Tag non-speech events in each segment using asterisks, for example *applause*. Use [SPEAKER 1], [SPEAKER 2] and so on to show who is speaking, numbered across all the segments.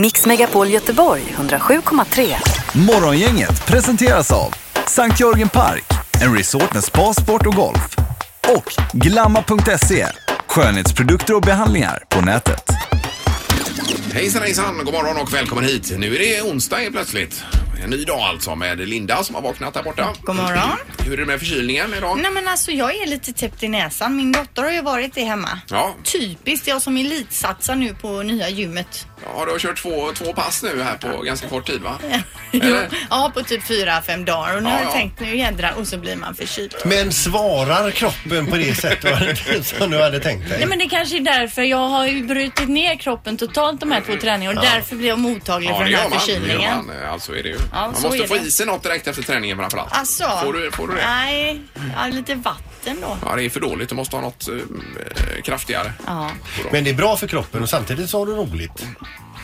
[SPEAKER 1] Mix Megapol Göteborg 107,3.
[SPEAKER 2] Morgongänget presenteras av Sankt Jörgen Park, en resort med spa, sport och golf. Och Glamma.se, skönhetsprodukter och behandlingar på nätet.
[SPEAKER 3] Hejsan hejsan, god morgon och välkommen hit. Nu är det onsdag helt plötsligt. En ny dag alltså med Linda som har vaknat där borta.
[SPEAKER 4] God morgon.
[SPEAKER 3] Hur är det med förkylningen idag?
[SPEAKER 4] Nej men alltså jag är lite täppt i näsan. Min dotter har ju varit det hemma.
[SPEAKER 3] Ja.
[SPEAKER 4] Typiskt, jag som elitsatsar nu på nya gymmet.
[SPEAKER 3] ja, du har kört två, två pass nu här på ganska kort tid
[SPEAKER 4] *laughs*
[SPEAKER 3] va?
[SPEAKER 4] Jo,
[SPEAKER 3] Eller?
[SPEAKER 4] ja, på typ fyra, fem dagar och nu
[SPEAKER 3] Ja,
[SPEAKER 4] har jag
[SPEAKER 3] ja.
[SPEAKER 4] tänkt nu jädrar och så blir man förkyld.
[SPEAKER 5] Men svarar kroppen på det sättet som du hade tänkt dig?
[SPEAKER 6] Nej men det kanske är därför jag har ju brutit ner kroppen totalt de här två träningarna och därför blir jag mottaglig för
[SPEAKER 3] det
[SPEAKER 6] den här
[SPEAKER 3] gör man. Det gör
[SPEAKER 6] förkylningen.
[SPEAKER 3] man. Alltså är det ju. man
[SPEAKER 6] så
[SPEAKER 3] måste
[SPEAKER 6] är
[SPEAKER 3] få
[SPEAKER 6] det.
[SPEAKER 3] i sig något direkt efter träningen framförallt.
[SPEAKER 4] Alltså,
[SPEAKER 3] Får du, får du det?
[SPEAKER 4] Nej, ja, lite vatten då.
[SPEAKER 3] Ja, det är för dåligt. Du måste ha något eh, kraftigare.
[SPEAKER 4] Ja,
[SPEAKER 5] Men det är bra för kroppen och samtidigt så har du roligt.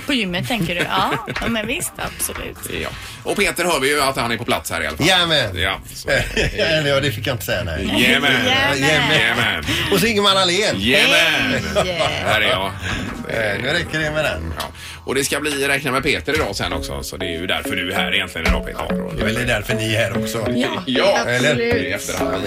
[SPEAKER 6] På gymmet tänker du? Ja, ja, men visst absolut.
[SPEAKER 3] Ja. Och Peter hör vi ju att han är på plats här i alla fall.
[SPEAKER 5] Jajamän!
[SPEAKER 3] Ja, så.
[SPEAKER 5] *laughs* Eller ja, det fick jag inte säga nej.
[SPEAKER 3] Jajamän!
[SPEAKER 4] Jajamän.
[SPEAKER 3] Jajamän!
[SPEAKER 5] Och så Ingemar Ahlén.
[SPEAKER 3] Jajamän!
[SPEAKER 4] yeah.
[SPEAKER 3] Här är jag.
[SPEAKER 5] Eh, Nu räcker det med den.
[SPEAKER 3] Ja. Och det ska bli räkna med Peter idag sen också så det är ju därför du är här egentligen idag Peter.
[SPEAKER 5] Det är väl det därför ni är här också.
[SPEAKER 3] Ja,
[SPEAKER 5] Eller?
[SPEAKER 3] det är i efterhand.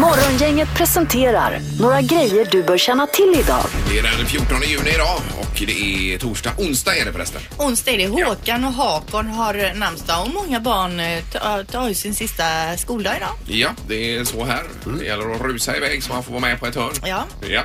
[SPEAKER 1] Morgongänget presenterar några grejer du bör känna till idag.
[SPEAKER 3] Det är den 14 juni idag och det är torsdag. Onsdag är det förresten.
[SPEAKER 4] Onsdag är det Håkan och Hakon har namnsdag och många barn eh, tar- tar ju sin sista skoldag idag.
[SPEAKER 3] Ja, det är så här. Det gäller att rusa iväg så man får vara med på ett hörn.
[SPEAKER 4] Mm. Ja.
[SPEAKER 3] Ja.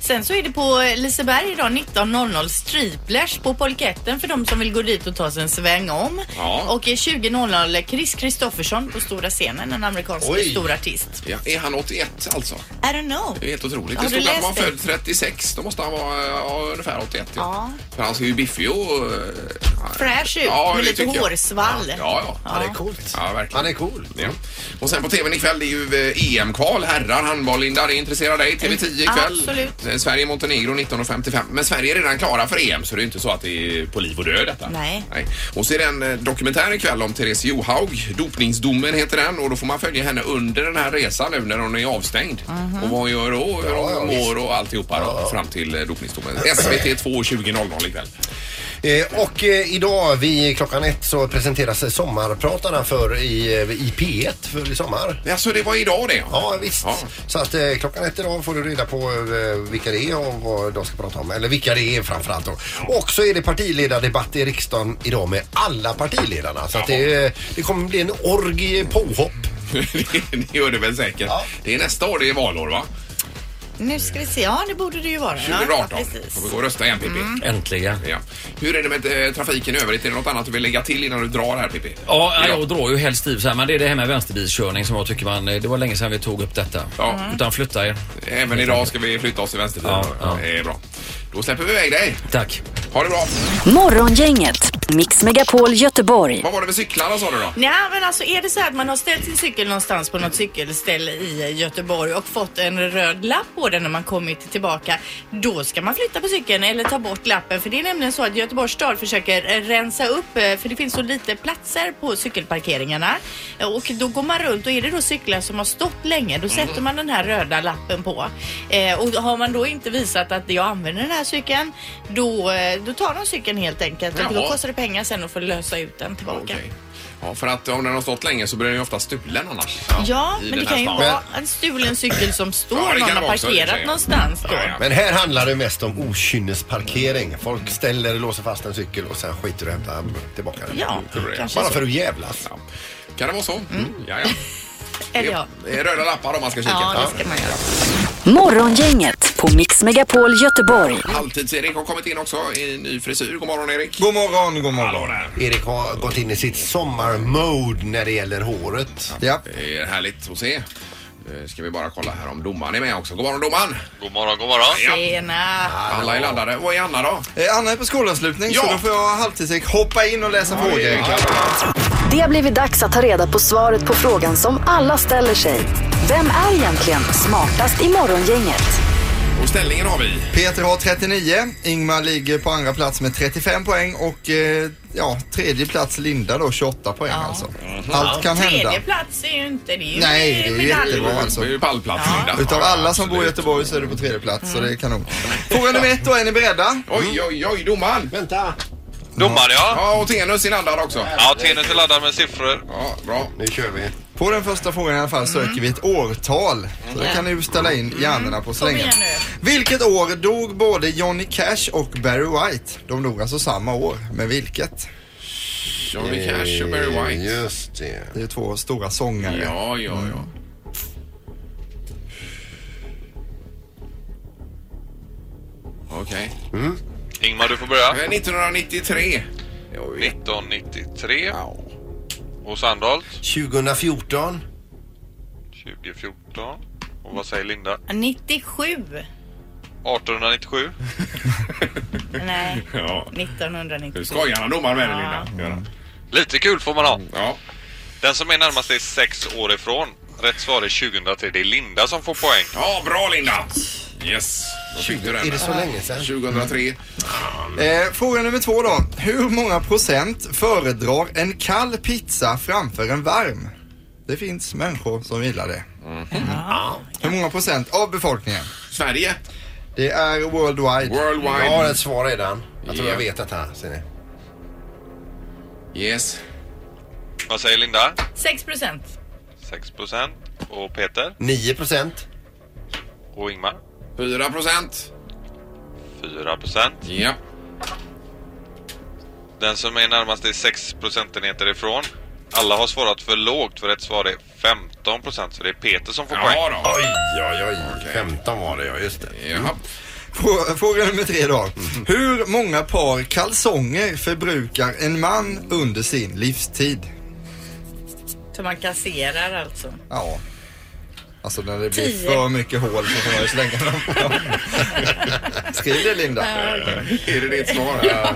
[SPEAKER 4] Sen så är det på Liseberg idag 19.00 Striplers på Polketten för de som vill gå dit och ta sig en sväng om.
[SPEAKER 3] Ja.
[SPEAKER 4] Och eh, 20.00 Chris Kristoffersson på stora scenen, en amerikansk
[SPEAKER 5] Oj.
[SPEAKER 4] stor artist.
[SPEAKER 3] ja. Är han 81 alltså?
[SPEAKER 4] I don't know.
[SPEAKER 3] Det är helt otroligt.
[SPEAKER 4] Har
[SPEAKER 3] det
[SPEAKER 4] du
[SPEAKER 3] stod att han
[SPEAKER 4] läst
[SPEAKER 3] var
[SPEAKER 4] det?
[SPEAKER 3] född 36. Då måste han vara ja, ungefär 81.
[SPEAKER 4] Ja.
[SPEAKER 3] För han ser ju biffig och... eh,
[SPEAKER 4] Fräsch ut
[SPEAKER 3] Ja,
[SPEAKER 4] med
[SPEAKER 3] det
[SPEAKER 4] lite
[SPEAKER 3] tycker jag.
[SPEAKER 4] hårsvall.
[SPEAKER 3] Ja, ja. ja.
[SPEAKER 5] Han är coolt.
[SPEAKER 3] Ja, verkligen.
[SPEAKER 5] Han är cool.
[SPEAKER 3] Ja. Och sen på tvn ikväll, det är ju eh, EM-kval, herrar, handboll, Linda, det intresserar dig. TV10 ikväll.
[SPEAKER 4] Mm, Absolut.
[SPEAKER 3] Eh, Sverige, Montenegro 19.55. Men Sverige är redan klara för EM så det är ju inte så att det är på liv och död detta.
[SPEAKER 4] Nej.
[SPEAKER 3] Och så är det en eh, dokumentär ikväll om Therese Johaug. Dopningsdomen heter den och då får man följa henne under den här resan nu när hon är avstängd.
[SPEAKER 4] Mhm.
[SPEAKER 3] Och vad hon gör och hur hon mår och alltihopa då, fram till eh, dopningsdomen. SVT 2 20.00 ikväll.
[SPEAKER 5] Eh, Och eh, idag vid klockan ett så presenteras sommarpratarna för i, eh, i P1 för i sommar.
[SPEAKER 3] Alltså det var idag det
[SPEAKER 5] Ja visst.
[SPEAKER 3] Ja.
[SPEAKER 5] Så att eh, klockan ett idag får du reda på eh, vilka det är och vad de ska prata om. Eller vilka det är framförallt då. Och så är det partiledardebatt i riksdagen idag med alla partiledarna. Så att det, eh, det kommer bli en orgie påhopp.
[SPEAKER 3] det, *laughs* det gör det väl säkert.
[SPEAKER 5] Ja.
[SPEAKER 3] Det är nästa år det är valår va?
[SPEAKER 4] Nu ska vi se, ja det borde det ju vara. Ja,
[SPEAKER 3] 2018.
[SPEAKER 4] Ja,
[SPEAKER 3] Får vi
[SPEAKER 4] precis. Mm.
[SPEAKER 3] gå och rösta igen Pippi?
[SPEAKER 7] Äntligen.
[SPEAKER 3] Ja. Hur är det med eh, trafiken i övrigt? Är det något annat du vill lägga till innan du drar här Pippi?
[SPEAKER 7] Ja, nej, jag drar ju helst i så här, men det är det här med vänsterbilskörning som jag tycker man, eh, det var länge sedan vi tog upp detta.
[SPEAKER 3] Ja.
[SPEAKER 7] Utan flytta er.
[SPEAKER 3] Även idag ska vi flytta oss till vänster.
[SPEAKER 7] Ja, ja.
[SPEAKER 3] Det är bra. Då släpper vi iväg dig.
[SPEAKER 7] Tack.
[SPEAKER 3] Ha det bra.
[SPEAKER 1] Morgongänget, Mix Megapol Göteborg.
[SPEAKER 3] Vad var det med cyklarna sa du då?
[SPEAKER 4] Nej men alltså är det så här att man har ställt sin cykel någonstans på något cykelställe i eh, Göteborg och fått en röd lapp på den när man kommit tillbaka. Då ska man flytta på cykeln eller ta bort lappen för det är nämligen så att Göteborgs stad försöker eh, rensa upp eh, för det finns så lite platser på cykelparkeringarna. Eh, Och då går man runt och är det då cyklar som har stått länge då
[SPEAKER 3] Mm.
[SPEAKER 4] sätter man den här röda lappen på. Eh, och har man då inte visat att jag använder den här cykeln då, eh, då tar de cykeln helt enkelt. Och då
[SPEAKER 3] Jaha.
[SPEAKER 4] kostar det pengar sen att få lösa ut den tillbaka.
[SPEAKER 3] Okej. Ja, för att om den har stått länge så blir den ju ofta stulen annars.
[SPEAKER 4] Ja,
[SPEAKER 3] i
[SPEAKER 4] men det
[SPEAKER 3] den
[SPEAKER 4] kan
[SPEAKER 3] här
[SPEAKER 4] ju
[SPEAKER 3] stan.
[SPEAKER 4] vara en stulen cykel som står,
[SPEAKER 3] Ja, det kan
[SPEAKER 4] någon
[SPEAKER 3] det
[SPEAKER 4] har
[SPEAKER 3] vara också, i och för
[SPEAKER 4] parkerat
[SPEAKER 3] sig.
[SPEAKER 4] någonstans då.
[SPEAKER 3] Ja, ja.
[SPEAKER 5] Men här handlar det mest om okynnesparkering. Folk ställer, låser fast en cykel och sen skiter du och hämtar tillbaka den. Mm.
[SPEAKER 4] Ja,
[SPEAKER 3] Tror det.
[SPEAKER 4] kanske
[SPEAKER 5] Bara
[SPEAKER 4] så.
[SPEAKER 5] för att jävlas.
[SPEAKER 3] Ja. Kan det vara så? Mm. Ja, ja.
[SPEAKER 4] Eller *laughs* ja.
[SPEAKER 3] Det är röda lappar om man ska kika.
[SPEAKER 4] Ja, det ska man göra.
[SPEAKER 1] Morgongänget på Mix Megapol Göteborg.
[SPEAKER 3] Halvtids-Erik har kommit in också i ny frisyr. God morgon Erik.
[SPEAKER 8] God morgon, god morgon.
[SPEAKER 3] Hallå där.
[SPEAKER 5] Erik har gått in i sitt sommarmode när det gäller håret.
[SPEAKER 8] Ja.
[SPEAKER 3] Det är härligt att se. Eh, Ska vi bara kolla här om domaren är med också. God morgon domaren!
[SPEAKER 9] God morgon, god morgon.
[SPEAKER 3] Ja,
[SPEAKER 4] Tjena!
[SPEAKER 3] alla är laddade. Vad är Anna då?
[SPEAKER 8] Eh, Anna är på skolanslutning
[SPEAKER 3] Ja.
[SPEAKER 8] så då får jag halvtids hoppa in och läsa frågor.
[SPEAKER 1] Det har blivit dags att ta reda på svaret på frågan som alla ställer sig. Vem är egentligen smartast i morgongänget?
[SPEAKER 3] Och ställningen har vi.
[SPEAKER 8] Peter har 39, Ingmar ligger på andra plats med 35 poäng och eh, ja, tredje plats Linda då 28 poäng alltså. Allt kan hända.
[SPEAKER 4] Mhm. Tredje plats är ju inte det. är ju
[SPEAKER 8] Nej, det är
[SPEAKER 4] medalj.
[SPEAKER 8] jättebra. Alltså.
[SPEAKER 3] Det är ju pallplats Linda.
[SPEAKER 8] Utav
[SPEAKER 3] Ja,
[SPEAKER 8] alla som bor i
[SPEAKER 3] absolut.
[SPEAKER 8] Göteborg så är du på tredje plats så det är kanon. Fråga nummer ett då, är ni beredda?
[SPEAKER 3] Oj, oj, oj, domaren!
[SPEAKER 5] Vänta!
[SPEAKER 9] Domare ja.
[SPEAKER 3] Ja, och Tenus är laddad också.
[SPEAKER 9] Ja, Tenus är laddad med siffror.
[SPEAKER 3] Ja, bra.
[SPEAKER 5] Nu kör vi.
[SPEAKER 8] På den första frågan i alla fall söker vi ett årtal. Så det kan ni ju ställa in hjärnorna på så
[SPEAKER 4] Mhm. Kom
[SPEAKER 8] länge.
[SPEAKER 4] igen
[SPEAKER 8] Vilket år dog både Johnny Cash och Barry White? De dog alltså samma år, men vilket?
[SPEAKER 3] Johnny Cash och Barry White.
[SPEAKER 5] Just det.
[SPEAKER 8] Det är två stora sångare.
[SPEAKER 3] Ja, ja,
[SPEAKER 8] Mm.
[SPEAKER 3] ja. Okej.
[SPEAKER 9] Ingmar, du får börja.
[SPEAKER 3] Eh, 1993.
[SPEAKER 9] 1993. Och Sandholt.
[SPEAKER 5] 2014.
[SPEAKER 9] 2014. Och vad säger Linda?
[SPEAKER 4] 97.
[SPEAKER 9] 1897.
[SPEAKER 4] Nej, *laughs*
[SPEAKER 3] Ja.
[SPEAKER 4] 1990.
[SPEAKER 3] Nu skojar han domaren med dig Linda. Gör han.
[SPEAKER 9] Lite kul får man ha.
[SPEAKER 3] Ja.
[SPEAKER 9] Den som är närmast är sex år ifrån. Rätt svar är 2003. Det är Linda som får poäng.
[SPEAKER 3] ja, bra Linda! Yes, då fick du den.
[SPEAKER 5] Är det så länge sedan?
[SPEAKER 3] 2003.
[SPEAKER 8] Eh, fråga nummer två då. Hur många procent föredrar en kall pizza framför en varm? Det finns människor som gillar det. Hur många procent av befolkningen?
[SPEAKER 3] Sverige.
[SPEAKER 8] Det är worldwide.
[SPEAKER 3] Worldwide.
[SPEAKER 5] Jag har ett svar redan. Jag tror jag
[SPEAKER 3] Ja.
[SPEAKER 5] vet detta. Ser ni?
[SPEAKER 3] Yes.
[SPEAKER 9] Vad säger Linda?
[SPEAKER 4] 6 procent.
[SPEAKER 9] 6 procent. Och Peter?
[SPEAKER 5] 9 procent.
[SPEAKER 9] Och Ingmar?
[SPEAKER 3] 4 procent.
[SPEAKER 9] 4 procent.
[SPEAKER 3] Ja.
[SPEAKER 9] Den som är närmast är 6 procentenheter ifrån. Alla har svarat för lågt för rätt svar är 15 procent. Så det är Peter som får poäng.
[SPEAKER 3] Ja då.
[SPEAKER 5] Oj, oj, oj. 15 var det ja, just det.
[SPEAKER 3] Jaha.
[SPEAKER 8] Frå- Fråga nummer tre då. Hur många par kalsonger förbrukar en man under sin livstid?
[SPEAKER 4] Så man kasserar alltså.
[SPEAKER 8] Ja. Alltså när det blir
[SPEAKER 4] Tio.
[SPEAKER 8] för mycket hål så får man ju slänga dem. Skriv det Linda.
[SPEAKER 3] Är det ditt svar? *laughs* ja.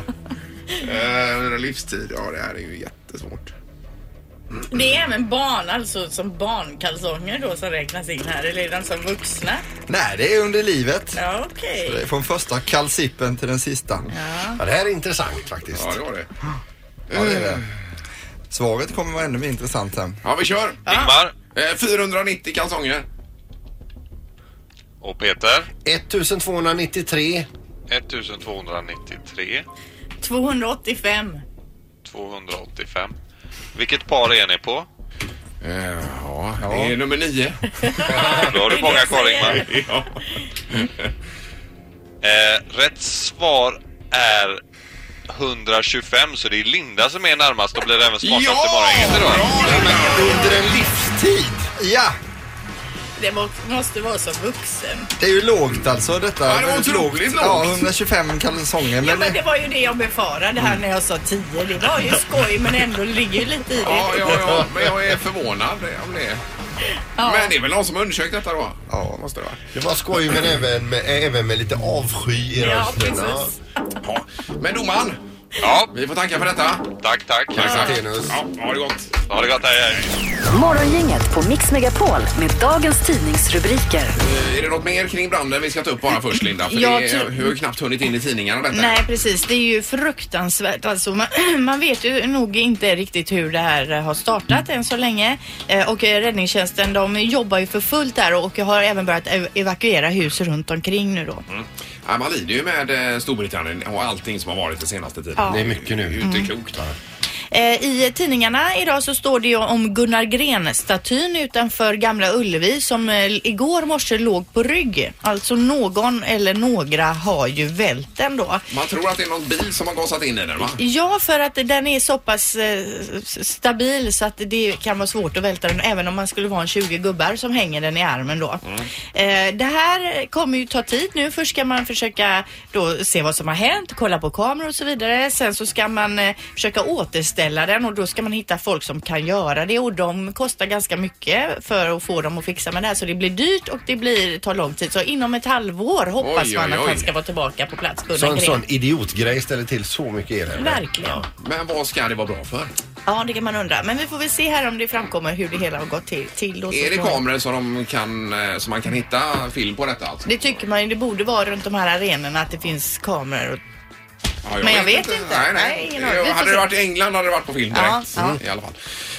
[SPEAKER 3] Eh, livstid, ja det här är ju jättesvårt.
[SPEAKER 4] Det är även barn, alltså som barnkalsonger då som räknas in här. Eller är den som vuxna?
[SPEAKER 8] Nej, det är under livet.
[SPEAKER 4] Ja, okej.
[SPEAKER 8] Det är Från första kalsippen till den sista.
[SPEAKER 5] Ja, det här är intressant faktiskt.
[SPEAKER 3] Ja, det var det.
[SPEAKER 8] Ja, det är det. Svaret kommer vara ännu mer intressant sen.
[SPEAKER 3] Ja, vi kör.
[SPEAKER 9] Ingmar
[SPEAKER 3] Eh, 490 kalsonger.
[SPEAKER 9] och Peter.
[SPEAKER 5] 1293.
[SPEAKER 9] 1293.
[SPEAKER 4] 285.
[SPEAKER 9] 285. Vilket par är ni på?
[SPEAKER 3] Eh, ja, det är nummer nio.
[SPEAKER 9] Då har du många kvar Ingmar.
[SPEAKER 3] *laughs* ja.
[SPEAKER 9] Eh, rätt svar är 125 så det är Linda som är närmast och blir även smartast i morgongänget idag.
[SPEAKER 8] Under en livstid? Ja!
[SPEAKER 4] Det må, måste vara som vuxen.
[SPEAKER 8] Det är ju lågt alltså detta.
[SPEAKER 3] Ja, det var
[SPEAKER 8] Väldigt
[SPEAKER 3] otroligt
[SPEAKER 8] Ja,
[SPEAKER 3] lågt.
[SPEAKER 8] 125 kalsonger.
[SPEAKER 4] Ja,
[SPEAKER 8] Men
[SPEAKER 4] men det var ju det jag befarade här när jag sa 10. Det var ju skoj men ändå ligger ju lite i det.
[SPEAKER 3] Ja, ja, ja, men jag är förvånad om det. Men det är väl någon som har undersökt detta då?
[SPEAKER 8] Ja.
[SPEAKER 3] måste det vara.
[SPEAKER 5] Det var skoj men även med, även med lite avsky i
[SPEAKER 4] Ja,
[SPEAKER 5] rösten. Ja,
[SPEAKER 4] precis.
[SPEAKER 3] Ja. Men domaren,
[SPEAKER 9] Ja,
[SPEAKER 3] vi får tacka för detta.
[SPEAKER 9] tack, tack.
[SPEAKER 5] Tenus.
[SPEAKER 3] Ja, ha det gott.
[SPEAKER 9] Ha det gott, hej, hej.
[SPEAKER 1] Morgongänget på Mix Megapol med dagens tidningsrubriker.
[SPEAKER 3] Eh, Är det något mer kring branden vi ska ta upp bara först Linda? För
[SPEAKER 4] Ja,
[SPEAKER 3] det är,
[SPEAKER 4] ty-
[SPEAKER 3] vi har ju knappt hunnit in i tidningarna detta.
[SPEAKER 4] Nej precis, det är ju fruktansvärt alltså. Man, *clears throat* man vet ju nog inte riktigt hur det här eh, har startat än så länge. Eh, Och eh, räddningstjänsten de jobbar ju för fullt där och har även börjat ev- evakuera hus runt omkring nu då.
[SPEAKER 3] Ja, man lider ju med eh, Storbritannien och allting som har varit den senaste tiden.
[SPEAKER 4] Ja. Mm. Det
[SPEAKER 5] är mycket nu.
[SPEAKER 3] Det är ju inte klokt. va?
[SPEAKER 4] Eh, I tidningarna idag så står det ju om Gunnar Gren-statyn utanför Gamla Ullevi som eh, igår morse låg på rygg. Alltså någon eller några har ju vält den då.
[SPEAKER 3] Man tror att det är någon bil som har gasat in i den va?
[SPEAKER 4] Ja, för att den är så pass eh, s- stabil så att det kan vara svårt att välta den även om man skulle vara en 20 gubbar som hänger den i armen då.
[SPEAKER 3] Mm.
[SPEAKER 4] Eh, det här kommer ju ta tid nu. Först ska man försöka då se vad som har hänt, kolla på kameror och så vidare. Sen så ska man eh, försöka återställa den och då ska man hitta folk som kan göra det och de kostar ganska mycket för att få dem att fixa med det här så det blir dyrt och det blir, tar lång tid. Så inom ett halvår hoppas
[SPEAKER 3] Oj,
[SPEAKER 4] man
[SPEAKER 3] oj,
[SPEAKER 4] att
[SPEAKER 3] oj.
[SPEAKER 4] han ska vara tillbaka på plats, Gunnar
[SPEAKER 5] Så en
[SPEAKER 4] Gren.
[SPEAKER 5] sån idiotgrej ställer till så mycket elände.
[SPEAKER 4] Verkligen.
[SPEAKER 3] Men vad ska det vara bra för?
[SPEAKER 4] Ja, det kan man undra. Men vi får väl se här om det framkommer hur det hela har gått till. till då, så
[SPEAKER 3] Är det
[SPEAKER 4] småningom.
[SPEAKER 3] kameror som, de kan, eh, som man kan hitta film på detta alltså?
[SPEAKER 4] Det tycker man ju. Det borde vara runt de här arenorna att det finns kameror. Och...
[SPEAKER 3] Ja,
[SPEAKER 4] Men jag vet inte.
[SPEAKER 3] Nej, nej.
[SPEAKER 4] Nej, ingen aning. Vi får
[SPEAKER 3] hade det
[SPEAKER 4] se.
[SPEAKER 3] varit i England hade det varit på film direkt.
[SPEAKER 4] Ja, ja.
[SPEAKER 3] I alla fall.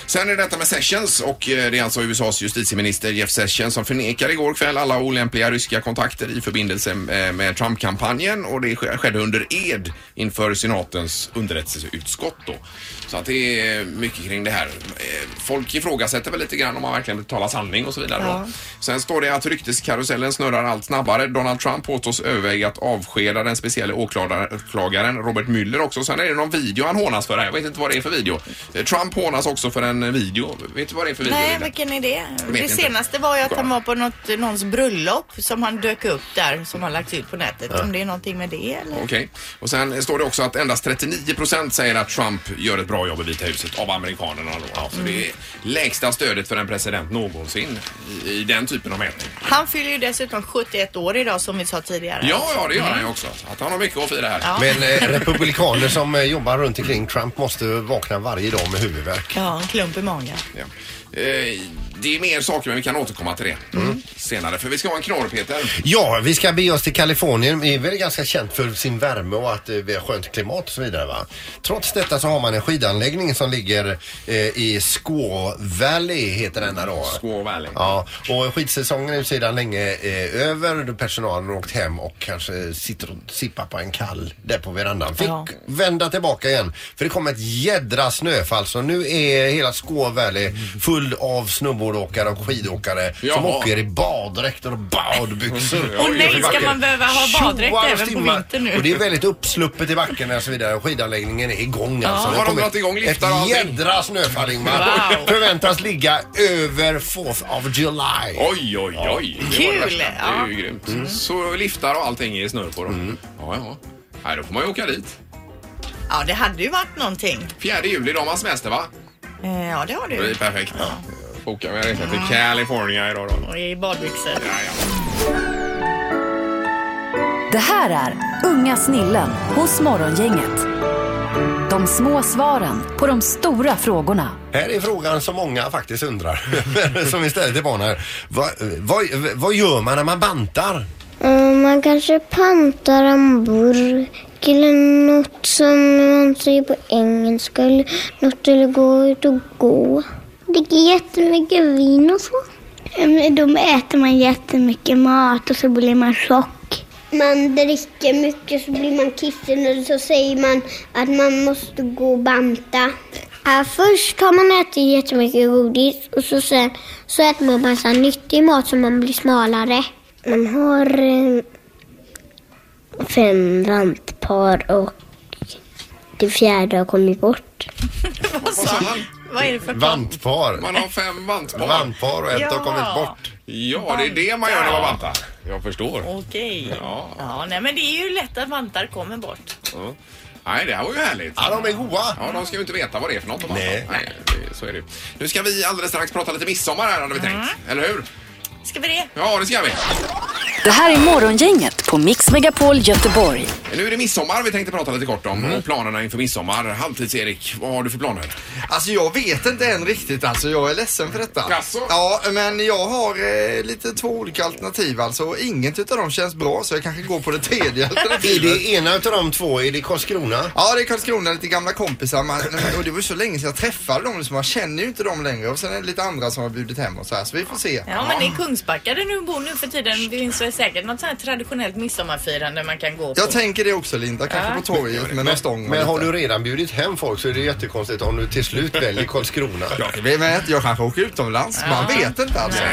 [SPEAKER 3] Sen är detta med Sessions och eh, det är alltså USAs justitieminister Jeff Sessions som förnekar igår kväll alla olämpliga ryska kontakter i förbindelse eh, med Trump-kampanjen och det sk- skedde under ed inför senatens underrättelseutskott då. Så att det är mycket kring det här. Eh, Folk ifrågasätter väl lite grann om man verkligen talar sanning och så vidare. då. Sen står det att rykteskarusellen snurrar allt snabbare. Donald Trump påstås överväga att avskeda den speciella åklagaren åklagaren Robert Mueller också. Sen är det någon video han hånas för här. Jag vet inte vad det är för video. Eh, Trump hånas också för en eh, video. Vet du vad det är för video?
[SPEAKER 4] Nej,
[SPEAKER 3] Linda?
[SPEAKER 4] vilken är det?
[SPEAKER 3] vet
[SPEAKER 4] Det
[SPEAKER 3] inte.
[SPEAKER 4] senaste var ju att han var på något, någons bröllop som han dök upp där som har lagts ut på nätet. Om det är någonting med det eller?
[SPEAKER 3] Okej. Och sen står det också att endast 39 procent säger att Trump gör ett bra jobb i Vita huset av amerikanerna då. Ja, så det är lägsta stödet för en president någonsin i, i den typen av mätning.
[SPEAKER 4] Han fyller ju dessutom 71 år idag som vi sa tidigare.
[SPEAKER 3] Ja, ja, det gör han ju också. Så Att han har mycket att fira här.
[SPEAKER 4] Ja.
[SPEAKER 5] Men eh, republikaner som eh, jobbar runt omkring Trump måste vakna varje dag med huvudvärk.
[SPEAKER 4] Ja, en klump i magen.
[SPEAKER 3] Ja. Eh, det är mer saker, men vi kan återkomma till det senare. För vi ska ha en knorr, Peter.
[SPEAKER 5] Ja, vi ska bege oss till Kalifornien. Det är väl ganska känt för sin värme och att eh, vi har skönt klimat och så vidare va. Trots detta så har man en skidanläggning som ligger eh, i Squaw Valley heter denna då.
[SPEAKER 3] Squaw Valley.
[SPEAKER 5] Ja, och skidsäsongen är ju sedan länge eh, över. Då Personalen har åkt hem och kanske sitter och sippar på en kall där på verandan. Fick vända tillbaka igen för det kom ett jädra snöfall så nu är hela Skå Valley full av snowboardåkare och skidåkare som
[SPEAKER 3] Jaha.
[SPEAKER 5] åker i baddräkter och badbyxor.
[SPEAKER 6] Och nej, ska man behöva ha baddräkt
[SPEAKER 5] Tjoar och
[SPEAKER 6] även på
[SPEAKER 5] stimmar.
[SPEAKER 6] vintern nu?
[SPEAKER 5] Och det är väldigt uppsluppet i backen och så vidare. Skidanläggningen är igång alltså. Det
[SPEAKER 3] Har de
[SPEAKER 5] kommer
[SPEAKER 3] dragit igång liftar och
[SPEAKER 5] Ett
[SPEAKER 3] allting?
[SPEAKER 5] jädra snöfall Ingmar.
[SPEAKER 6] Wow.
[SPEAKER 5] Förväntas ligga över 4th of July.
[SPEAKER 3] Oj, oj, oj. Det var det
[SPEAKER 4] Kul,
[SPEAKER 3] värsta. Det är ju
[SPEAKER 4] ja.
[SPEAKER 3] grymt. Så liftar och allting är snurr på dem. Ja, ja. Nej, då får man ju åka dit.
[SPEAKER 4] Ja, det hade ju varit någonting.
[SPEAKER 3] Fjärde juli, då har man semester, va?
[SPEAKER 4] Eh, Ja, det har
[SPEAKER 3] Det blir
[SPEAKER 4] du.
[SPEAKER 3] perfekt. Boka mig resa till California idag då.
[SPEAKER 4] Och i badbyxor.
[SPEAKER 3] Ja, ja.
[SPEAKER 1] Det här är Unga snillen hos Morgongänget. De små svaren på de stora frågorna.
[SPEAKER 5] Här är frågan som många faktiskt undrar. *laughs* som istället är vana. Vad, vad, vad gör man när man bantar?
[SPEAKER 10] Man kanske pantar en burk eller något som man säger på engelska eller något eller gå ut och gå. Det är jättemycket vin och så. Då äter man jättemycket mat och så blir man tjock. Man dricker mycket så blir man kissnödig och så säger man att man måste gå och banta. Ja, först har man ätit jättemycket godis och så sen så äter man massa nyttig mat så man blir smalare. Man har eh, fem vantpar och det fjärde har kommit bort.
[SPEAKER 4] Vad sa han? Vad är det för
[SPEAKER 5] Vantpar.
[SPEAKER 3] Man har fem vantpar.
[SPEAKER 5] Vantpar och ett har kommit bort.
[SPEAKER 3] Ja, det är det man gör när man vantar. Jag förstår.
[SPEAKER 4] Okej.
[SPEAKER 3] Ja.
[SPEAKER 4] Ja, nej men det är ju lätt att vantar kommer bort.
[SPEAKER 3] Ja. Nej, det här var ju härligt.
[SPEAKER 5] Ja, de är goa.
[SPEAKER 3] Ja, de ska ju inte veta vad det är för något. om man-
[SPEAKER 5] Nej.
[SPEAKER 3] Nej, det- så är det ju. Nu ska vi alldeles strax prata lite midsommar här hade vi
[SPEAKER 4] Mm.
[SPEAKER 3] tänkt. Eller hur?
[SPEAKER 4] Ska vi det?
[SPEAKER 3] Ja, det ska vi.
[SPEAKER 1] Det här är Morgongänget på Mix Megapol Göteborg.
[SPEAKER 3] Nu är det midsommar vi tänkte prata lite kort om och planerna inför midsommar. Halvtids-Erik, vad har du för planer?
[SPEAKER 8] Alltså jag vet inte än riktigt alltså. Jag är ledsen för detta.
[SPEAKER 3] Jaså?
[SPEAKER 8] Ja, men jag har eh, lite två olika alternativ alltså. Och Inget utav dem känns bra så jag kanske går på det
[SPEAKER 5] *laughs*
[SPEAKER 8] tredje
[SPEAKER 5] Är
[SPEAKER 8] alternativet.
[SPEAKER 5] det ena utav de två? Är det Karlskrona?
[SPEAKER 8] Ja, det är Karlskrona, lite gamla kompisar. Man, och det var ju så länge sedan jag träffade dem så man känner ju inte dem längre. Och sen är det lite andra som har bjudit hem och så här så vi får se.
[SPEAKER 4] Ja, men i Kungsbacka där du bor nu för tiden det finns väl säkert något sånt här traditionellt midsommarfirande man kan gå på.
[SPEAKER 8] Jag tänker det också Linda, kanske på torget med någon stång. och
[SPEAKER 5] Men har
[SPEAKER 8] lite.
[SPEAKER 5] du redan bjudit hem folk så är det jättekonstigt om du till slut väljer Karlskrona.
[SPEAKER 8] Ja, det blir med att jag kanske åker utomlands. Man vet inte alltså.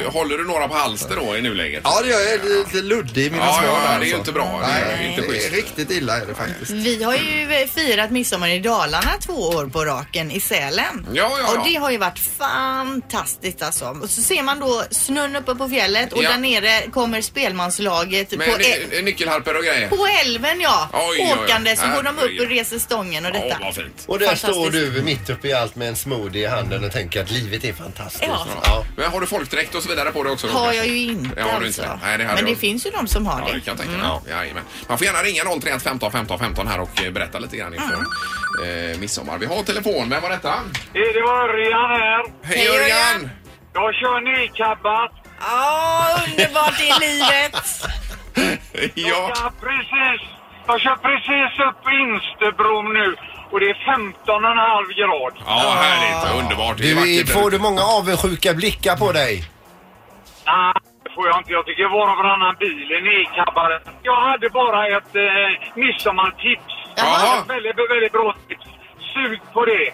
[SPEAKER 3] Du- Håller du några på halster då i nuläget?
[SPEAKER 8] Ja, det gör jag. Jag är lite luddig i mina
[SPEAKER 3] Ja,
[SPEAKER 8] svar
[SPEAKER 3] ja,
[SPEAKER 8] där,
[SPEAKER 3] det är
[SPEAKER 8] alltså.
[SPEAKER 3] ju inte bra. Det är
[SPEAKER 8] Nej,
[SPEAKER 3] ju inte
[SPEAKER 8] det är
[SPEAKER 3] schysst.
[SPEAKER 8] riktigt illa är det faktiskt.
[SPEAKER 4] Vi har ju eh, firat midsommar i Dalarna två år på raken i Sälen.
[SPEAKER 3] Ja, ja, ja.
[SPEAKER 4] Och det har ju varit fantastiskt alltså. Och så ser man då snön uppe på fjället och
[SPEAKER 3] Ja.
[SPEAKER 4] där nere kommer spelmanslaget på,
[SPEAKER 3] Med
[SPEAKER 4] ä-
[SPEAKER 3] ny- nyckelharpor och grejer?
[SPEAKER 4] på älven ja.
[SPEAKER 3] Oj, oj, oj.
[SPEAKER 4] Åkande så går de upp och
[SPEAKER 3] Herregud.
[SPEAKER 4] reser stången och
[SPEAKER 3] Åh,
[SPEAKER 4] detta.
[SPEAKER 3] vad fint.
[SPEAKER 5] Och där står
[SPEAKER 4] Fantastiskt.
[SPEAKER 5] du mitt uppe i allt med en smoothie i handen och tänker att livet är fantastiskt.
[SPEAKER 4] Ja.
[SPEAKER 5] Ja.
[SPEAKER 3] Men har du folkdräkt och så vidare på dig också? då,
[SPEAKER 4] har
[SPEAKER 3] kanske?
[SPEAKER 4] jag ju inte
[SPEAKER 3] Ja, har du
[SPEAKER 4] alltså.
[SPEAKER 3] inte. Nej, det hade
[SPEAKER 4] Men det
[SPEAKER 3] jag.
[SPEAKER 4] finns ju de som har
[SPEAKER 3] Ja,
[SPEAKER 4] det.
[SPEAKER 3] det kan jag tänka mig. Ja, jajamän. Man får gärna ringa 031 15 15 15 här och eh, berätta lite grann inför
[SPEAKER 4] Mm.
[SPEAKER 3] eh, midsommar. Vi har telefon. Vem var detta?
[SPEAKER 10] Det var Örjan här.
[SPEAKER 3] Hej,
[SPEAKER 4] Hej,
[SPEAKER 3] Örjan!
[SPEAKER 4] Örjan!
[SPEAKER 10] Jag kör nycabbat.
[SPEAKER 4] Ja, underbart i livet.
[SPEAKER 3] Ja. *laughs*
[SPEAKER 10] Jag, precis, jag kör precis upp Instebron nu.
[SPEAKER 11] och det är 15,5 grad.
[SPEAKER 3] Ja, härligt. Ja, Underbart. Det är
[SPEAKER 5] Du,
[SPEAKER 3] vackert.
[SPEAKER 5] får du många avundsjuka blickar på dig?
[SPEAKER 11] Nej, det får jag inte. Jag tycker var och varannan bil är nedkabbad. Jag hade bara ett eh, midsommartips.
[SPEAKER 3] Jaha.
[SPEAKER 11] Ett väldigt, väldigt bra tips. Sug på det.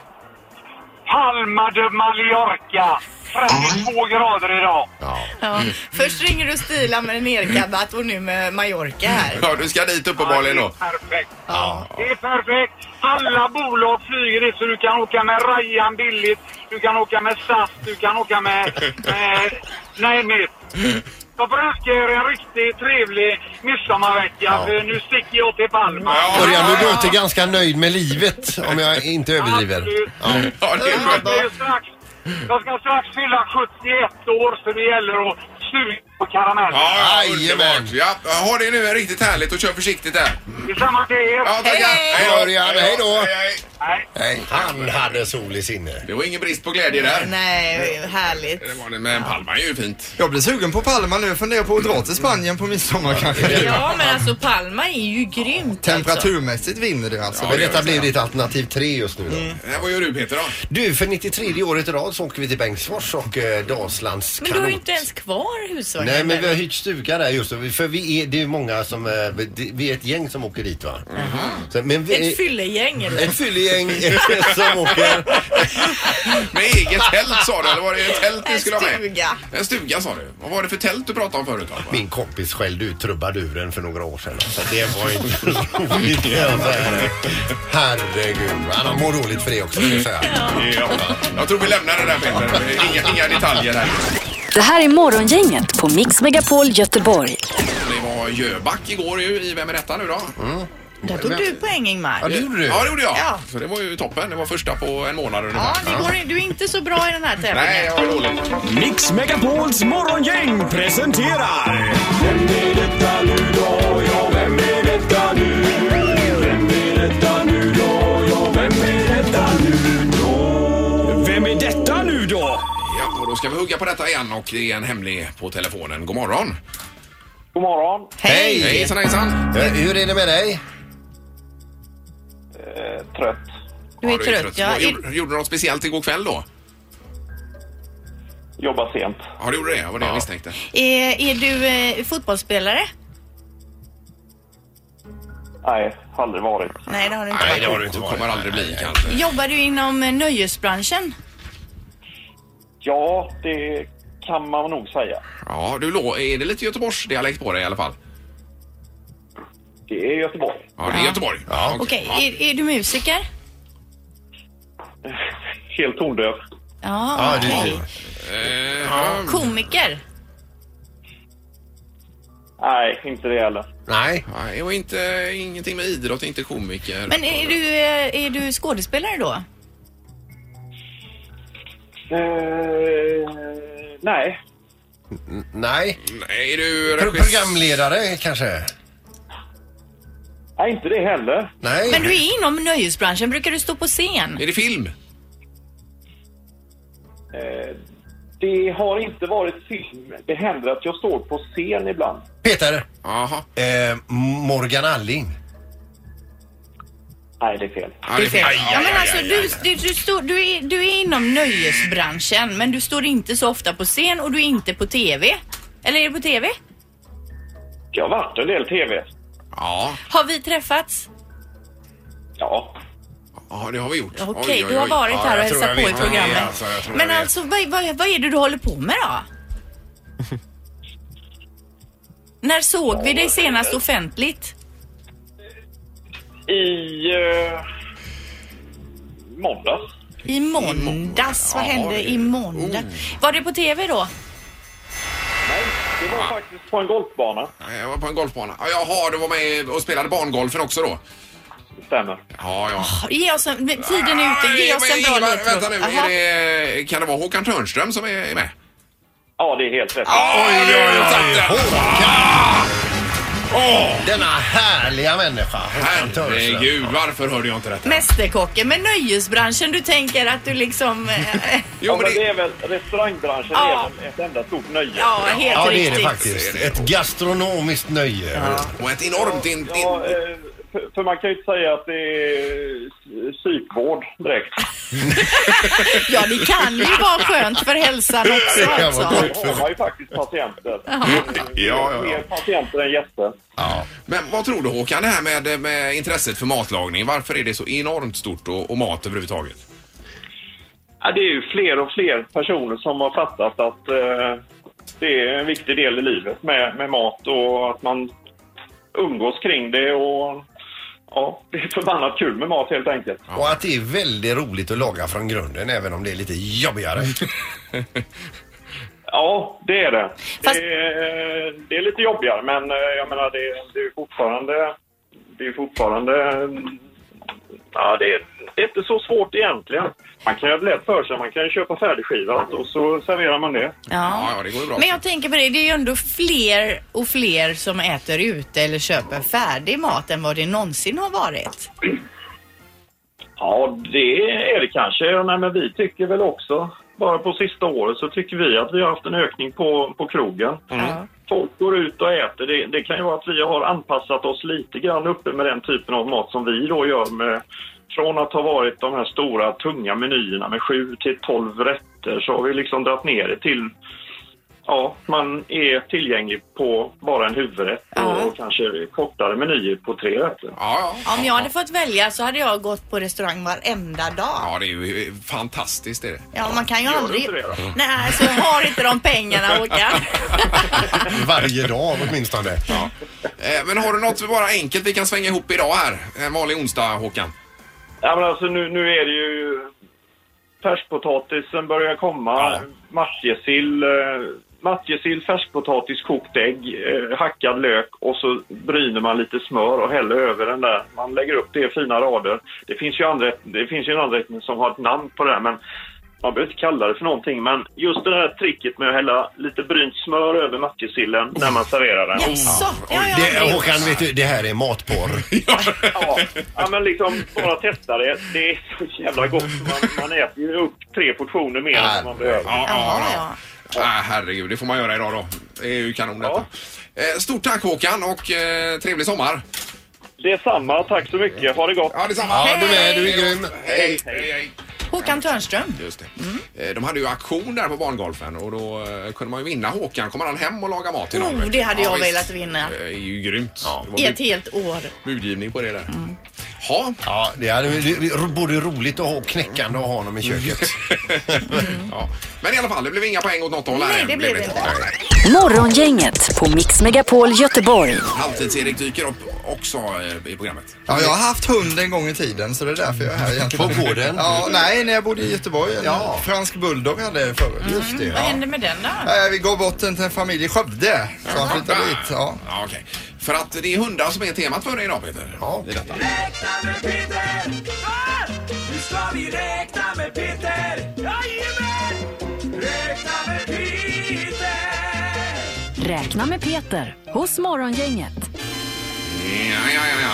[SPEAKER 11] Palma de Mallorca. 32 grader idag.
[SPEAKER 4] Ja. Först ringer du Stila med en erkabbat och nu med Mallorca här.
[SPEAKER 3] Ja, du ska dit uppenbarligen då.
[SPEAKER 11] Perfekt. Det är perfekt. Alla bolag flyger dit så du kan åka med Ryan billigt. Du kan åka med SAS. Du kan
[SPEAKER 3] *laughs*
[SPEAKER 11] åka med... med nej, med. Jag får önska er en riktigt trevlig midsommarvecka för nu sticker jag till Palma.
[SPEAKER 5] Örjan, du låter ganska nöjd med livet om jag inte överdriver. Ja.
[SPEAKER 3] Ja, det är skönt.
[SPEAKER 11] Jag ska strax- Jag ska strax fylla 71 år så det gäller att suga på karamellen.
[SPEAKER 3] Ja, ja, underbart. Ja, ha det nu riktigt härligt och kör försiktigt där.
[SPEAKER 11] Detsamma till er.
[SPEAKER 3] Ja, tackar. Hej då.
[SPEAKER 5] Örjan, hej då!
[SPEAKER 3] hej.
[SPEAKER 5] Hej. Han hade sol i sinne.
[SPEAKER 3] Det var ingen brist på glädje där.
[SPEAKER 4] Nej, härligt.
[SPEAKER 3] Det var det, men Palma är ju fint.
[SPEAKER 8] Jag blir sugen på Palma nu. Jag funderar på att dra till Spanien på midsommar kanske.
[SPEAKER 4] Ja, men alltså Palma är ju grymt alltså.
[SPEAKER 8] Temperaturmässigt vinner det alltså.
[SPEAKER 5] Men detta blir ditt alternativ tre just nu då.
[SPEAKER 4] Mm.
[SPEAKER 3] Eh, Vad gör du Peter då?
[SPEAKER 5] Du, för 93 året i rad så åker vi till Bengtsfors och eh, Dalslands
[SPEAKER 4] Men du har ju inte ens kvar husvagnen.
[SPEAKER 5] Nej, men vi
[SPEAKER 4] där.
[SPEAKER 5] har hyrt stuga där just nu. För vi är, det är många som, eh, det- vi är ett gäng som åker dit va. Så, men vi,
[SPEAKER 4] Mhm. Ett fyllegäng eller?
[SPEAKER 5] ett fyllegäng *laughs* som åker.
[SPEAKER 3] Med eget tält sa du, eller var det ett tält ni
[SPEAKER 4] En
[SPEAKER 3] skulle ha med?
[SPEAKER 4] stuga.
[SPEAKER 3] En stuga sa du. Vad var det för tält du pratade om förut? Alva?
[SPEAKER 5] Min kompis skällde ut trubaduren för några år sedan. Så
[SPEAKER 3] *laughs*
[SPEAKER 5] det var inte roligt kan jag säga. Herregud, han mår dåligt för det också ska jag säga.
[SPEAKER 3] Ja. Jag tror vi lämnar det där Peter. Inga, inga detaljer här.
[SPEAKER 1] Det här är Morgongänget på Mix Megapol Göteborg.
[SPEAKER 3] Det var Jöback igår ju i Vem är detta nu då?
[SPEAKER 4] Där tog du poäng
[SPEAKER 5] Ja,
[SPEAKER 4] Ingmar.
[SPEAKER 5] det gjorde du.
[SPEAKER 3] Ja, det gjorde jag.
[SPEAKER 4] Ja.
[SPEAKER 3] Så det var ju toppen. Det var första på en månad
[SPEAKER 4] Ja,
[SPEAKER 3] ungefär.
[SPEAKER 4] det går, in- du är inte så bra i den här tävlingen.
[SPEAKER 3] Nej, jag var dålig.
[SPEAKER 12] Mix Megapols morgongäng presenterar... Vem är detta nu då? Ja, vem är detta nu? Vem är detta nu då? Ja, vem är detta nu då? Vem är detta nu då?
[SPEAKER 3] Ja, och då ska vi hugga på detta igen och det är en hemlig på telefonen. God morgon.
[SPEAKER 11] God morgon.
[SPEAKER 5] Hej!
[SPEAKER 3] Hejsan hejsan.
[SPEAKER 5] Eh, Hur är det med dig?
[SPEAKER 11] Eh, trött.
[SPEAKER 4] Du är
[SPEAKER 3] Ja,
[SPEAKER 4] trött, ja.
[SPEAKER 3] Vad Gjorde, gjorde du något speciellt igår kväll då?
[SPEAKER 11] Jobbar sent.
[SPEAKER 3] Ja, du gjorde det. Det var det jag misstänkte.
[SPEAKER 4] Är, är du eh, fotbollsspelare?
[SPEAKER 11] Nej, aldrig varit.
[SPEAKER 4] Nej, det har du inte
[SPEAKER 3] Nej,
[SPEAKER 4] varit.
[SPEAKER 3] det har du inte varit. kommer aldrig bli kanske.
[SPEAKER 4] Jobbar du inom eh, nöjesbranschen?
[SPEAKER 11] Ja, det kan man nog säga.
[SPEAKER 3] Ja, du lå- är det lite Göteborgsdialekt på dig i alla fall?
[SPEAKER 11] Det är Göteborg.
[SPEAKER 3] Ja, det är Göteborg. Ja,
[SPEAKER 4] Okej, är, är du musiker?
[SPEAKER 11] Helt tondöv.
[SPEAKER 4] Ja,
[SPEAKER 5] det är
[SPEAKER 4] okej.
[SPEAKER 3] Eh, ja.
[SPEAKER 4] Komiker?
[SPEAKER 11] Nej, inte det heller.
[SPEAKER 5] Nej.
[SPEAKER 3] Nej, och inte, ingenting med idrott, inte komiker.
[SPEAKER 4] Men är du, eh, är du skådespelare då?
[SPEAKER 11] Eh, nej.
[SPEAKER 5] Nej.
[SPEAKER 3] Nej, är du
[SPEAKER 5] Pro-
[SPEAKER 3] regissör?
[SPEAKER 5] Programledare kanske?
[SPEAKER 11] Nej, inte det heller.
[SPEAKER 5] Nej.
[SPEAKER 4] Men du är inom nöjesbranschen, brukar du stå på scen?
[SPEAKER 3] Är det film?
[SPEAKER 11] Eh, Det har inte varit film. Det händer att jag står på scen ibland.
[SPEAKER 5] Peter.
[SPEAKER 3] Jaha.
[SPEAKER 5] Eh, Morgan Alling.
[SPEAKER 11] Nej, det är fel.
[SPEAKER 3] Ja,
[SPEAKER 4] Det är fel.
[SPEAKER 3] Aj,
[SPEAKER 4] Ja,
[SPEAKER 3] aj,
[SPEAKER 4] men
[SPEAKER 3] aj,
[SPEAKER 4] alltså,
[SPEAKER 3] aj,
[SPEAKER 4] du,
[SPEAKER 3] aj.
[SPEAKER 4] du, du, står, du, är, du är inom nöjesbranschen men du står inte så ofta på scen och du är inte på TV. Eller är du på TV?
[SPEAKER 11] Jag har varit en del tv.
[SPEAKER 3] Ja,
[SPEAKER 4] Har vi träffats?
[SPEAKER 11] Ja.
[SPEAKER 3] ja, det har vi gjort.
[SPEAKER 4] Okej,
[SPEAKER 3] Oj, oj,
[SPEAKER 4] du har
[SPEAKER 3] oj.
[SPEAKER 4] varit
[SPEAKER 3] Ja,
[SPEAKER 4] här och
[SPEAKER 3] jag tror
[SPEAKER 4] hälsat på
[SPEAKER 3] jag
[SPEAKER 4] i
[SPEAKER 3] vet vad det är,
[SPEAKER 4] programmet.
[SPEAKER 3] alltså, jag tror
[SPEAKER 4] men
[SPEAKER 3] jag vet.
[SPEAKER 4] alltså, vad, vad, vad är det du håller på med då? När såg vi dig senast offentligt?
[SPEAKER 11] I... eh, måndags.
[SPEAKER 4] I måndags. Vad
[SPEAKER 3] Ja, det- Oh.
[SPEAKER 4] hände i måndag? Var det på TV då?
[SPEAKER 11] Nej, det var faktiskt på en golfbana.
[SPEAKER 3] Nej, Jag var på en golfbana. Ja, Jaha, du var med och spelade barngolfen också då?
[SPEAKER 11] Det stämmer.
[SPEAKER 3] Ja, ja.
[SPEAKER 4] Ge oss en, tiden Ah, är ute. Ge
[SPEAKER 3] Nej,
[SPEAKER 4] oss
[SPEAKER 3] men
[SPEAKER 4] en bra
[SPEAKER 3] Ingmar,
[SPEAKER 4] ledtråd.
[SPEAKER 3] Vänta nu,
[SPEAKER 4] Jaha.
[SPEAKER 3] är det, kan det vara Håkan Törnström som är med?
[SPEAKER 11] Ja, det är helt rätt.
[SPEAKER 3] Oj, oj, oj, oj, oj.
[SPEAKER 5] Denna härliga människa. Håkan Törnström.
[SPEAKER 3] Herregud, varför hörde jag inte detta?
[SPEAKER 4] Mästerkocken med nöjesbranschen. Du tänker att du liksom... eh, *laughs*
[SPEAKER 3] Jo, men det...
[SPEAKER 11] är väl restaurangbranschen
[SPEAKER 4] Ja.
[SPEAKER 11] är väl ett enda stort nöje.
[SPEAKER 4] ja, helt
[SPEAKER 5] Ja, det är
[SPEAKER 4] riktigt.
[SPEAKER 5] det faktiskt. Ett gastronomiskt nöje.
[SPEAKER 3] Och ett enormt... In, in...
[SPEAKER 11] Ja, eh, för- för man kan ju inte säga att det är s-
[SPEAKER 13] sjukvård direkt.
[SPEAKER 4] Ja, det kan ju vara skönt för
[SPEAKER 5] *laughs*
[SPEAKER 4] hälsan också. alltså.
[SPEAKER 13] Man har ju faktiskt patienter.
[SPEAKER 4] Ja.
[SPEAKER 3] Ja, ja,
[SPEAKER 13] Mer patienter än gäster.
[SPEAKER 3] Ja. Men vad tror du Håkan, det här med, med intresset för matlagning? Varför är det så enormt stort och, och mat överhuvudtaget?
[SPEAKER 13] Ja, det är ju fler och fler personer som har fattat att eh, det är en viktig del i livet med, med mat och att man umgås kring det och ja, det är förbannat kul med mat helt enkelt.
[SPEAKER 5] Och att det är väldigt roligt att laga från grunden även om det är lite jobbigare.
[SPEAKER 3] *laughs*
[SPEAKER 13] Ja, det är det. Det, är, det är lite jobbigare, men eh, jag menar det, det är ju fortfarande... Det är fortfarande... Ja, det är, det är inte så svårt egentligen. Man kan ju ha lätt för sig. Man kan ju köpa färdigskivat och så serverar man det.
[SPEAKER 4] Ja.
[SPEAKER 13] det
[SPEAKER 4] Men jag tänker på det, det är ju ändå fler och fler som äter ute eller köper färdig mat än vad det någonsin har varit.
[SPEAKER 13] Ja, det är det kanske. Nej, men vi tycker väl också, bara på sista året så tycker vi att vi har haft en ökning på, på krogen. Folk går ut och äter. Det, det kan ju vara att vi har anpassat oss lite grann uppe med den typen av mat som vi då gör med från att ha varit de här stora tunga menyerna med 7 till 12 rätter så har vi liksom dragit ner det till Ja, man är tillgänglig på bara en huvudrätt och kanske kortare menyer på tre rätter.
[SPEAKER 4] Om jag hade fått välja så hade jag gått på restaurang varenda dag.
[SPEAKER 3] Ja, det är ju eh, fantastiskt. Är det.
[SPEAKER 4] Ja, man kan ju
[SPEAKER 3] Gör du
[SPEAKER 4] aldrig...
[SPEAKER 3] inte det då?
[SPEAKER 4] Nej, så har inte de pengarna, Håkan.
[SPEAKER 3] *laughs*
[SPEAKER 5] Varje dag åtminstone.
[SPEAKER 3] Ja. Eh, Men har du något bara enkelt vi kan svänga ihop idag här? En vanlig onsdag Håkan.
[SPEAKER 13] Ja, men alltså nu, nu är det ju... Färskpotatisen börjar komma. Matjessill, eh, matjessill, färskpotatis, kokt ägg, eh, hackad lök och så bryner man lite smör och häller över den där. Man lägger upp det i fina rader. Det finns ju, anrätt, det finns ju en anrättning som har ett namn på det här, men man behöver inte kalla det för någonting. Men just det här tricket med att hälla lite brynt smör över matjessillen när man serverar den.
[SPEAKER 5] Det, Eh, Håkan, vet du, det här är matporr.
[SPEAKER 13] Ja, men liksom bara testa det. Det är så jävla gott. Man, man äter ju upp tre portioner mer än vad man behöver.
[SPEAKER 3] Ja, ja, ja. Ah, herregud, det får man göra idag då. Det är ju kanon detta. Eh, Stort tack Håkan och eh, trevlig sommar.
[SPEAKER 13] Detsamma, tack så mycket. Ha det gott.
[SPEAKER 3] Ja, detsamma.
[SPEAKER 4] Ja, du med. Du är grym.
[SPEAKER 3] Hej, hej, hej.
[SPEAKER 4] Håkan Törnström.
[SPEAKER 3] Just det. Eh, De hade ju auktion där på barngolfen och då eh, kunde man ju vinna Håkan. Kommer han hem och laga mat till någon?
[SPEAKER 4] Oh, det hade
[SPEAKER 3] Ja,
[SPEAKER 4] jag
[SPEAKER 3] visst. Eh,
[SPEAKER 4] velat E vinna.
[SPEAKER 3] Det är ju grymt. Det var
[SPEAKER 4] I ett helt år.
[SPEAKER 3] budgivning på det där.
[SPEAKER 4] Mm.
[SPEAKER 3] Ha.
[SPEAKER 5] Ja, det är det är både roligt och ha- knäckande att ha honom
[SPEAKER 3] *laughs*
[SPEAKER 5] i köket.
[SPEAKER 3] ja. Men i alla fall, det blev inga poäng åt något håll
[SPEAKER 1] Nej,
[SPEAKER 3] här.
[SPEAKER 1] det blev det
[SPEAKER 3] Nej.
[SPEAKER 1] Morgongänget på Mix Megapol Göteborg.
[SPEAKER 3] Eh, Halvtids-Erik dyker upp också eh, i programmet.
[SPEAKER 8] Ja, jag har haft hund en gång i tiden så det är därför jag är här egentligen.
[SPEAKER 5] På gården?
[SPEAKER 8] Ja, nej, när jag bodde i Göteborg. En
[SPEAKER 5] Ja.
[SPEAKER 8] Fransk bulldog hade jag förut. Just det.
[SPEAKER 4] Vad hände med den då?
[SPEAKER 8] Vi gav bort den till en familj i Skövde. Så han flyttade dit. Ja.
[SPEAKER 3] Ja, okej. För att det är hundar som är temat för dig idag Peter. Ja. I detta.
[SPEAKER 12] Nu ska vi räkna med Peter! Jajamän! Räkna med Peter!
[SPEAKER 1] Räkna med Peter hos Morgongänget.
[SPEAKER 3] Ja, ja, ja, ja.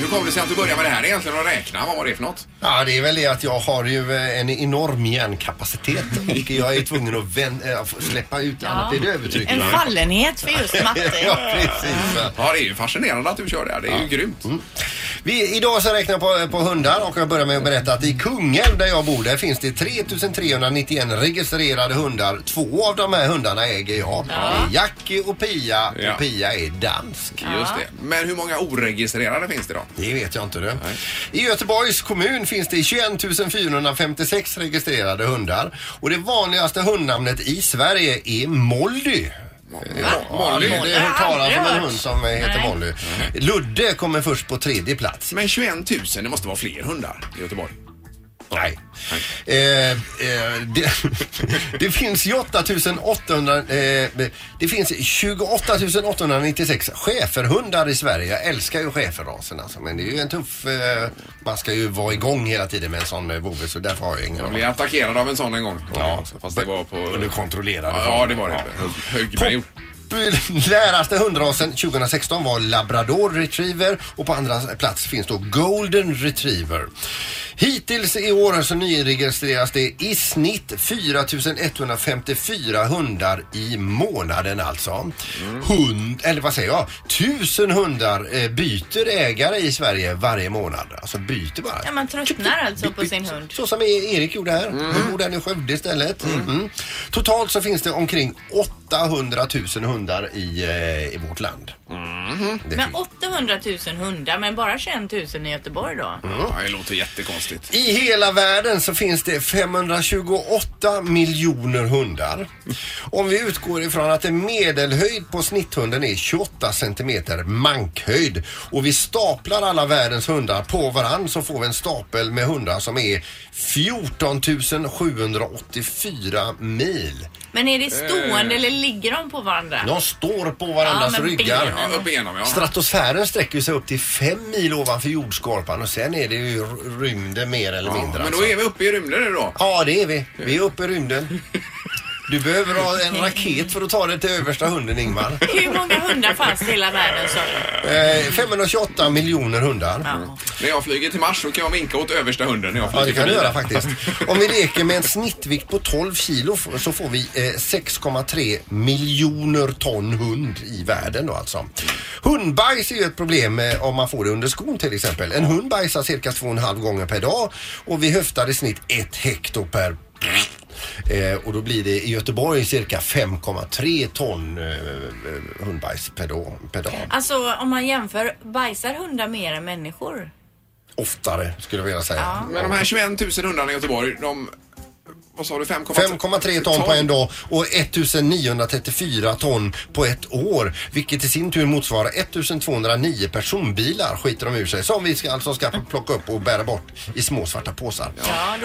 [SPEAKER 3] Hur kom det sig att du började med det här egentligen och räkna? Vad var det för något?
[SPEAKER 5] Ja, det är väl det att jag har ju eh, en enorm hjärnkapacitet och jag är tvungen att vän, äh, släppa ut annat. Det är övertryck. *laughs*
[SPEAKER 4] En fallenhet för
[SPEAKER 3] *laughs*
[SPEAKER 4] just matte.
[SPEAKER 5] Ja, precis.
[SPEAKER 3] Ja, det är ju fascinerande att du kör det här. Det är ju grymt.
[SPEAKER 5] Vi, idag så räknar jag på, på hundar och jag börjar med att berätta att i Kungälv där jag bor där finns det 3391 registrerade hundar. Två av de här hundarna äger jag. Det är Jackie och Pia och
[SPEAKER 3] Ja.
[SPEAKER 5] Pia är dansk.
[SPEAKER 3] Just det. Men hur många oregistrerade finns det då?
[SPEAKER 5] Det vet jag inte du. I Göteborgs kommun finns det 21 456 registrerade hundar. Och det vanligaste hundnamnet i Sverige är Molly.
[SPEAKER 3] Molly?
[SPEAKER 5] Ja, det
[SPEAKER 3] Jag
[SPEAKER 5] är
[SPEAKER 3] har
[SPEAKER 5] hört talas
[SPEAKER 3] aldrig
[SPEAKER 5] om en
[SPEAKER 3] hört.
[SPEAKER 5] hund som heter
[SPEAKER 3] Nej.
[SPEAKER 5] Molly. Ludde kommer först på tredje plats.
[SPEAKER 3] Men 21 000, det måste vara fler hundar i Göteborg.
[SPEAKER 5] Nej. Eh, eh, det, *laughs* det finns 28 800, eh, det finns 28 896 schäferhundar i Sverige. Jag älskar ju schäferrasen alltså, men det är ju en tuff... Eh, man ska ju vara igång hela tiden med en sån eh, bove så därför har jag ingen
[SPEAKER 3] Jag
[SPEAKER 5] aning.
[SPEAKER 3] blev attackerad av en sån en gång. Ja. Fast det var på...
[SPEAKER 5] Du kontrollerade
[SPEAKER 3] Ja, ja, det var det. Högg mig upp.
[SPEAKER 5] Populäraste hundrasen 2016 var labrador retriever och på andra plats finns då golden retriever. Hittills i år så nyregistreras det i snitt 4154 hundar i månaden alltså. Hund, eller vad säger jag? Tusen hundar eh, byter ägare i Sverige varje månad. Alltså byter bara.
[SPEAKER 6] Ja, man tröttnar alltså på sin hund.
[SPEAKER 5] Så som E- Erik gjorde här. Nu bor den i Skövde istället. Mm. Totalt så finns det omkring 800 000 hundar i, eh, i vårt land. Det
[SPEAKER 4] Men 800 000 hundar, men bara 21 000 i Göteborg då?
[SPEAKER 3] Ja, det låter jättekonstigt.
[SPEAKER 5] I hela världen så finns det 528 miljoner hundar. Om vi utgår ifrån att en medelhöjd på snitthunden är 28 centimeter mankhöjd och vi staplar alla världens hundar på varann så får vi en stapel med hundar som är 14 784 mil.
[SPEAKER 4] Men är det
[SPEAKER 3] Eh.
[SPEAKER 4] stående eller ligger de på varandra?
[SPEAKER 5] De står på varandras
[SPEAKER 4] Ja, men
[SPEAKER 5] ryggar.
[SPEAKER 4] benen. Ja, benen, ja.
[SPEAKER 5] Stratosfären sträcker sig upp till fem mil ovanför jordskorpan och sen är det ju r- rymden mer eller mindre.
[SPEAKER 3] Men
[SPEAKER 5] alltså.
[SPEAKER 3] då är vi uppe i rymden nu då.
[SPEAKER 5] Ja, det är vi. Vi är uppe i rymden. Du behöver ha en raket för att ta dig till översta hunden, Ingmar.
[SPEAKER 4] Hur många hundar fanns i hela världen sa du?
[SPEAKER 5] Eh, 528 miljoner hundar.
[SPEAKER 3] När jag flyger till Mars så kan jag vinka åt översta hunden när jag
[SPEAKER 5] Ja,
[SPEAKER 3] flyger
[SPEAKER 5] det kan du
[SPEAKER 3] förbi
[SPEAKER 5] göra
[SPEAKER 3] den.
[SPEAKER 5] faktiskt. Om vi leker med en snittvikt på 12 kilo f- så får vi eh, 6,3 miljoner ton hund i världen då alltså. Hundbajs är ju ett problem eh, om man får det under skon till exempel. En hund bajsar cirka 2,5 gånger per dag och vi höftar i snitt 1 hekto per Eh, och då blir det i Göteborg cirka 5,3 ton eh, eh, hundbajs per dag, per dag.
[SPEAKER 4] Alltså om man jämför, bajsar hundar mer än människor?
[SPEAKER 5] Oftare skulle jag vilja säga.
[SPEAKER 3] Men de här 21 000 hundarna i Göteborg, de... Vad sa du?
[SPEAKER 5] 5,3 ton på en dag och 1934 ton på ett år. Vilket i sin tur motsvarar 1209 personbilar skiter de ur sig. Som vi ska, alltså ska plocka upp och bära bort i små svarta påsar.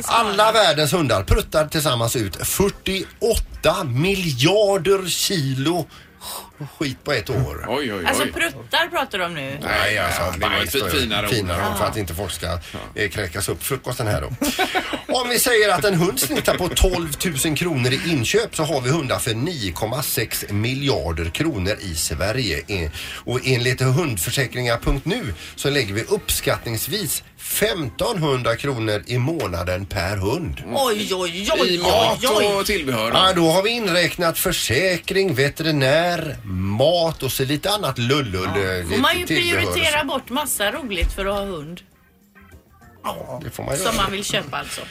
[SPEAKER 5] Alla världens hundar pruttar tillsammans ut 48 miljarder kilo sk- skit på ett år.
[SPEAKER 3] Oj, oj,
[SPEAKER 4] Alltså pruttar pratar de om nu.
[SPEAKER 5] Nej, alltså
[SPEAKER 3] Ja, det var
[SPEAKER 5] bajs
[SPEAKER 3] ett
[SPEAKER 5] då,
[SPEAKER 3] finare ord.
[SPEAKER 5] finare ord för
[SPEAKER 3] Ja.
[SPEAKER 5] att inte folk ska eh, kräkas upp frukosten här då. *laughs* Om vi säger att en hund snittar på 12 000 kronor i inköp så har vi hundar för 9,6 miljarder kronor i Sverige. Eh, Och enligt hundförsäkringar.nu så lägger vi uppskattningsvis 1500 kronor i månaden per hund.
[SPEAKER 4] Oj, oj, oj,
[SPEAKER 3] I
[SPEAKER 4] oj,
[SPEAKER 3] mat
[SPEAKER 4] oj.
[SPEAKER 3] och tillbehör.
[SPEAKER 5] Ja, då har vi inräknat försäkring, veterinär, mat och så lite annat lullull. eh,
[SPEAKER 4] Får man ju
[SPEAKER 5] lite tillbehör och så.
[SPEAKER 4] prioritera bort massa roligt för att ha hund.
[SPEAKER 5] Det får man göra.
[SPEAKER 4] Som man vill köpa alltså.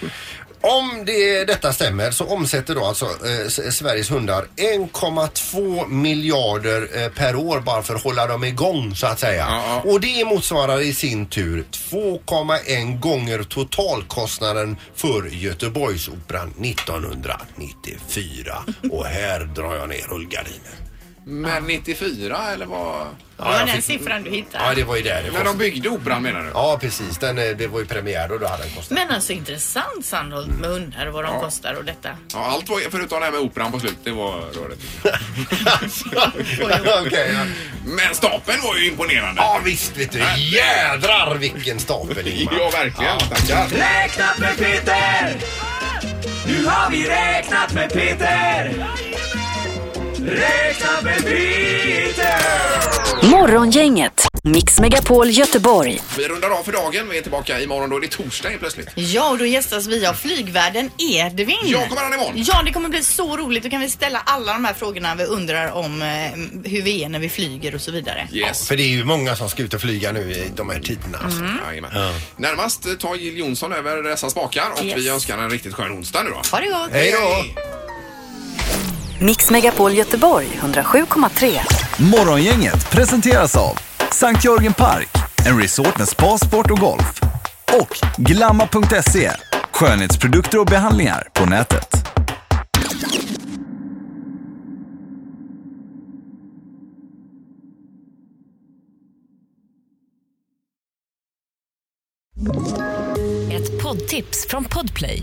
[SPEAKER 5] Om det, detta stämmer så omsätter då alltså eh, S- Sveriges hundar 1,2 miljarder eh, per år bara för att hålla dem igång så att säga. Och det motsvarar i sin tur 2,1 gånger totalkostnaden för Göteborgsoperan 1994. Och här drar jag ner rullgardinen.
[SPEAKER 3] Men 94 eller vad?
[SPEAKER 5] Ja, jag fick-
[SPEAKER 4] siffran du hittar.
[SPEAKER 5] Ja, det var ju där det
[SPEAKER 3] När de byggde operan menar du?
[SPEAKER 5] Ja, precis. Den, eh, det var ju premiär och då hade den
[SPEAKER 4] *laughs*
[SPEAKER 5] kostat. *laughs*
[SPEAKER 4] Men alltså intressant Sandholt med hundar och vad de
[SPEAKER 3] Ja.
[SPEAKER 4] kostar och detta.
[SPEAKER 3] Ja, allt var, förutom det här med operan på slut, det var rörigt.
[SPEAKER 5] Alltså. *laughs* Okej, ja.
[SPEAKER 3] Men stapeln var ju imponerande.
[SPEAKER 5] Ja visst vet du. Jädrar vilken stapel Ingmar.
[SPEAKER 3] Ja, verkligen. Tackar.
[SPEAKER 12] Räknat med Peter! Nu har vi räknat med Peter! Räknat med Peter!
[SPEAKER 1] Morgongänget, Mix Megapol Göteborg.
[SPEAKER 3] Vi rundar av för dagen. Vi är tillbaka imorgon då. Det är torsdag helt plötsligt.
[SPEAKER 4] Ja, och då gästas vi av flygvärden Edvin.
[SPEAKER 3] Ja, kommer han imorgon?
[SPEAKER 4] Ja, det kommer bli så roligt. Då kan vi ställa alla de här frågorna vi undrar om eh, hur vi är när vi flyger och så vidare.
[SPEAKER 5] Ja, för det är ju många som ska ut och flyga nu i de här tiderna. Alltså.
[SPEAKER 3] Jajamän. Närmast eh, tar Jill Johnson över dessa spakar och
[SPEAKER 1] Yes.
[SPEAKER 3] vi önskar en riktigt skön onsdag nu då.
[SPEAKER 4] Ha det gott!
[SPEAKER 1] Hej då. Mix Megapol Göteborg 107,3.
[SPEAKER 2] Morgongänget presenteras av Sankt Jörgen Park, en resort med spa, sport och golf. Och Glamma.se, skönhetsprodukter och behandlingar på nätet.
[SPEAKER 14] Ett poddtips från Podplay.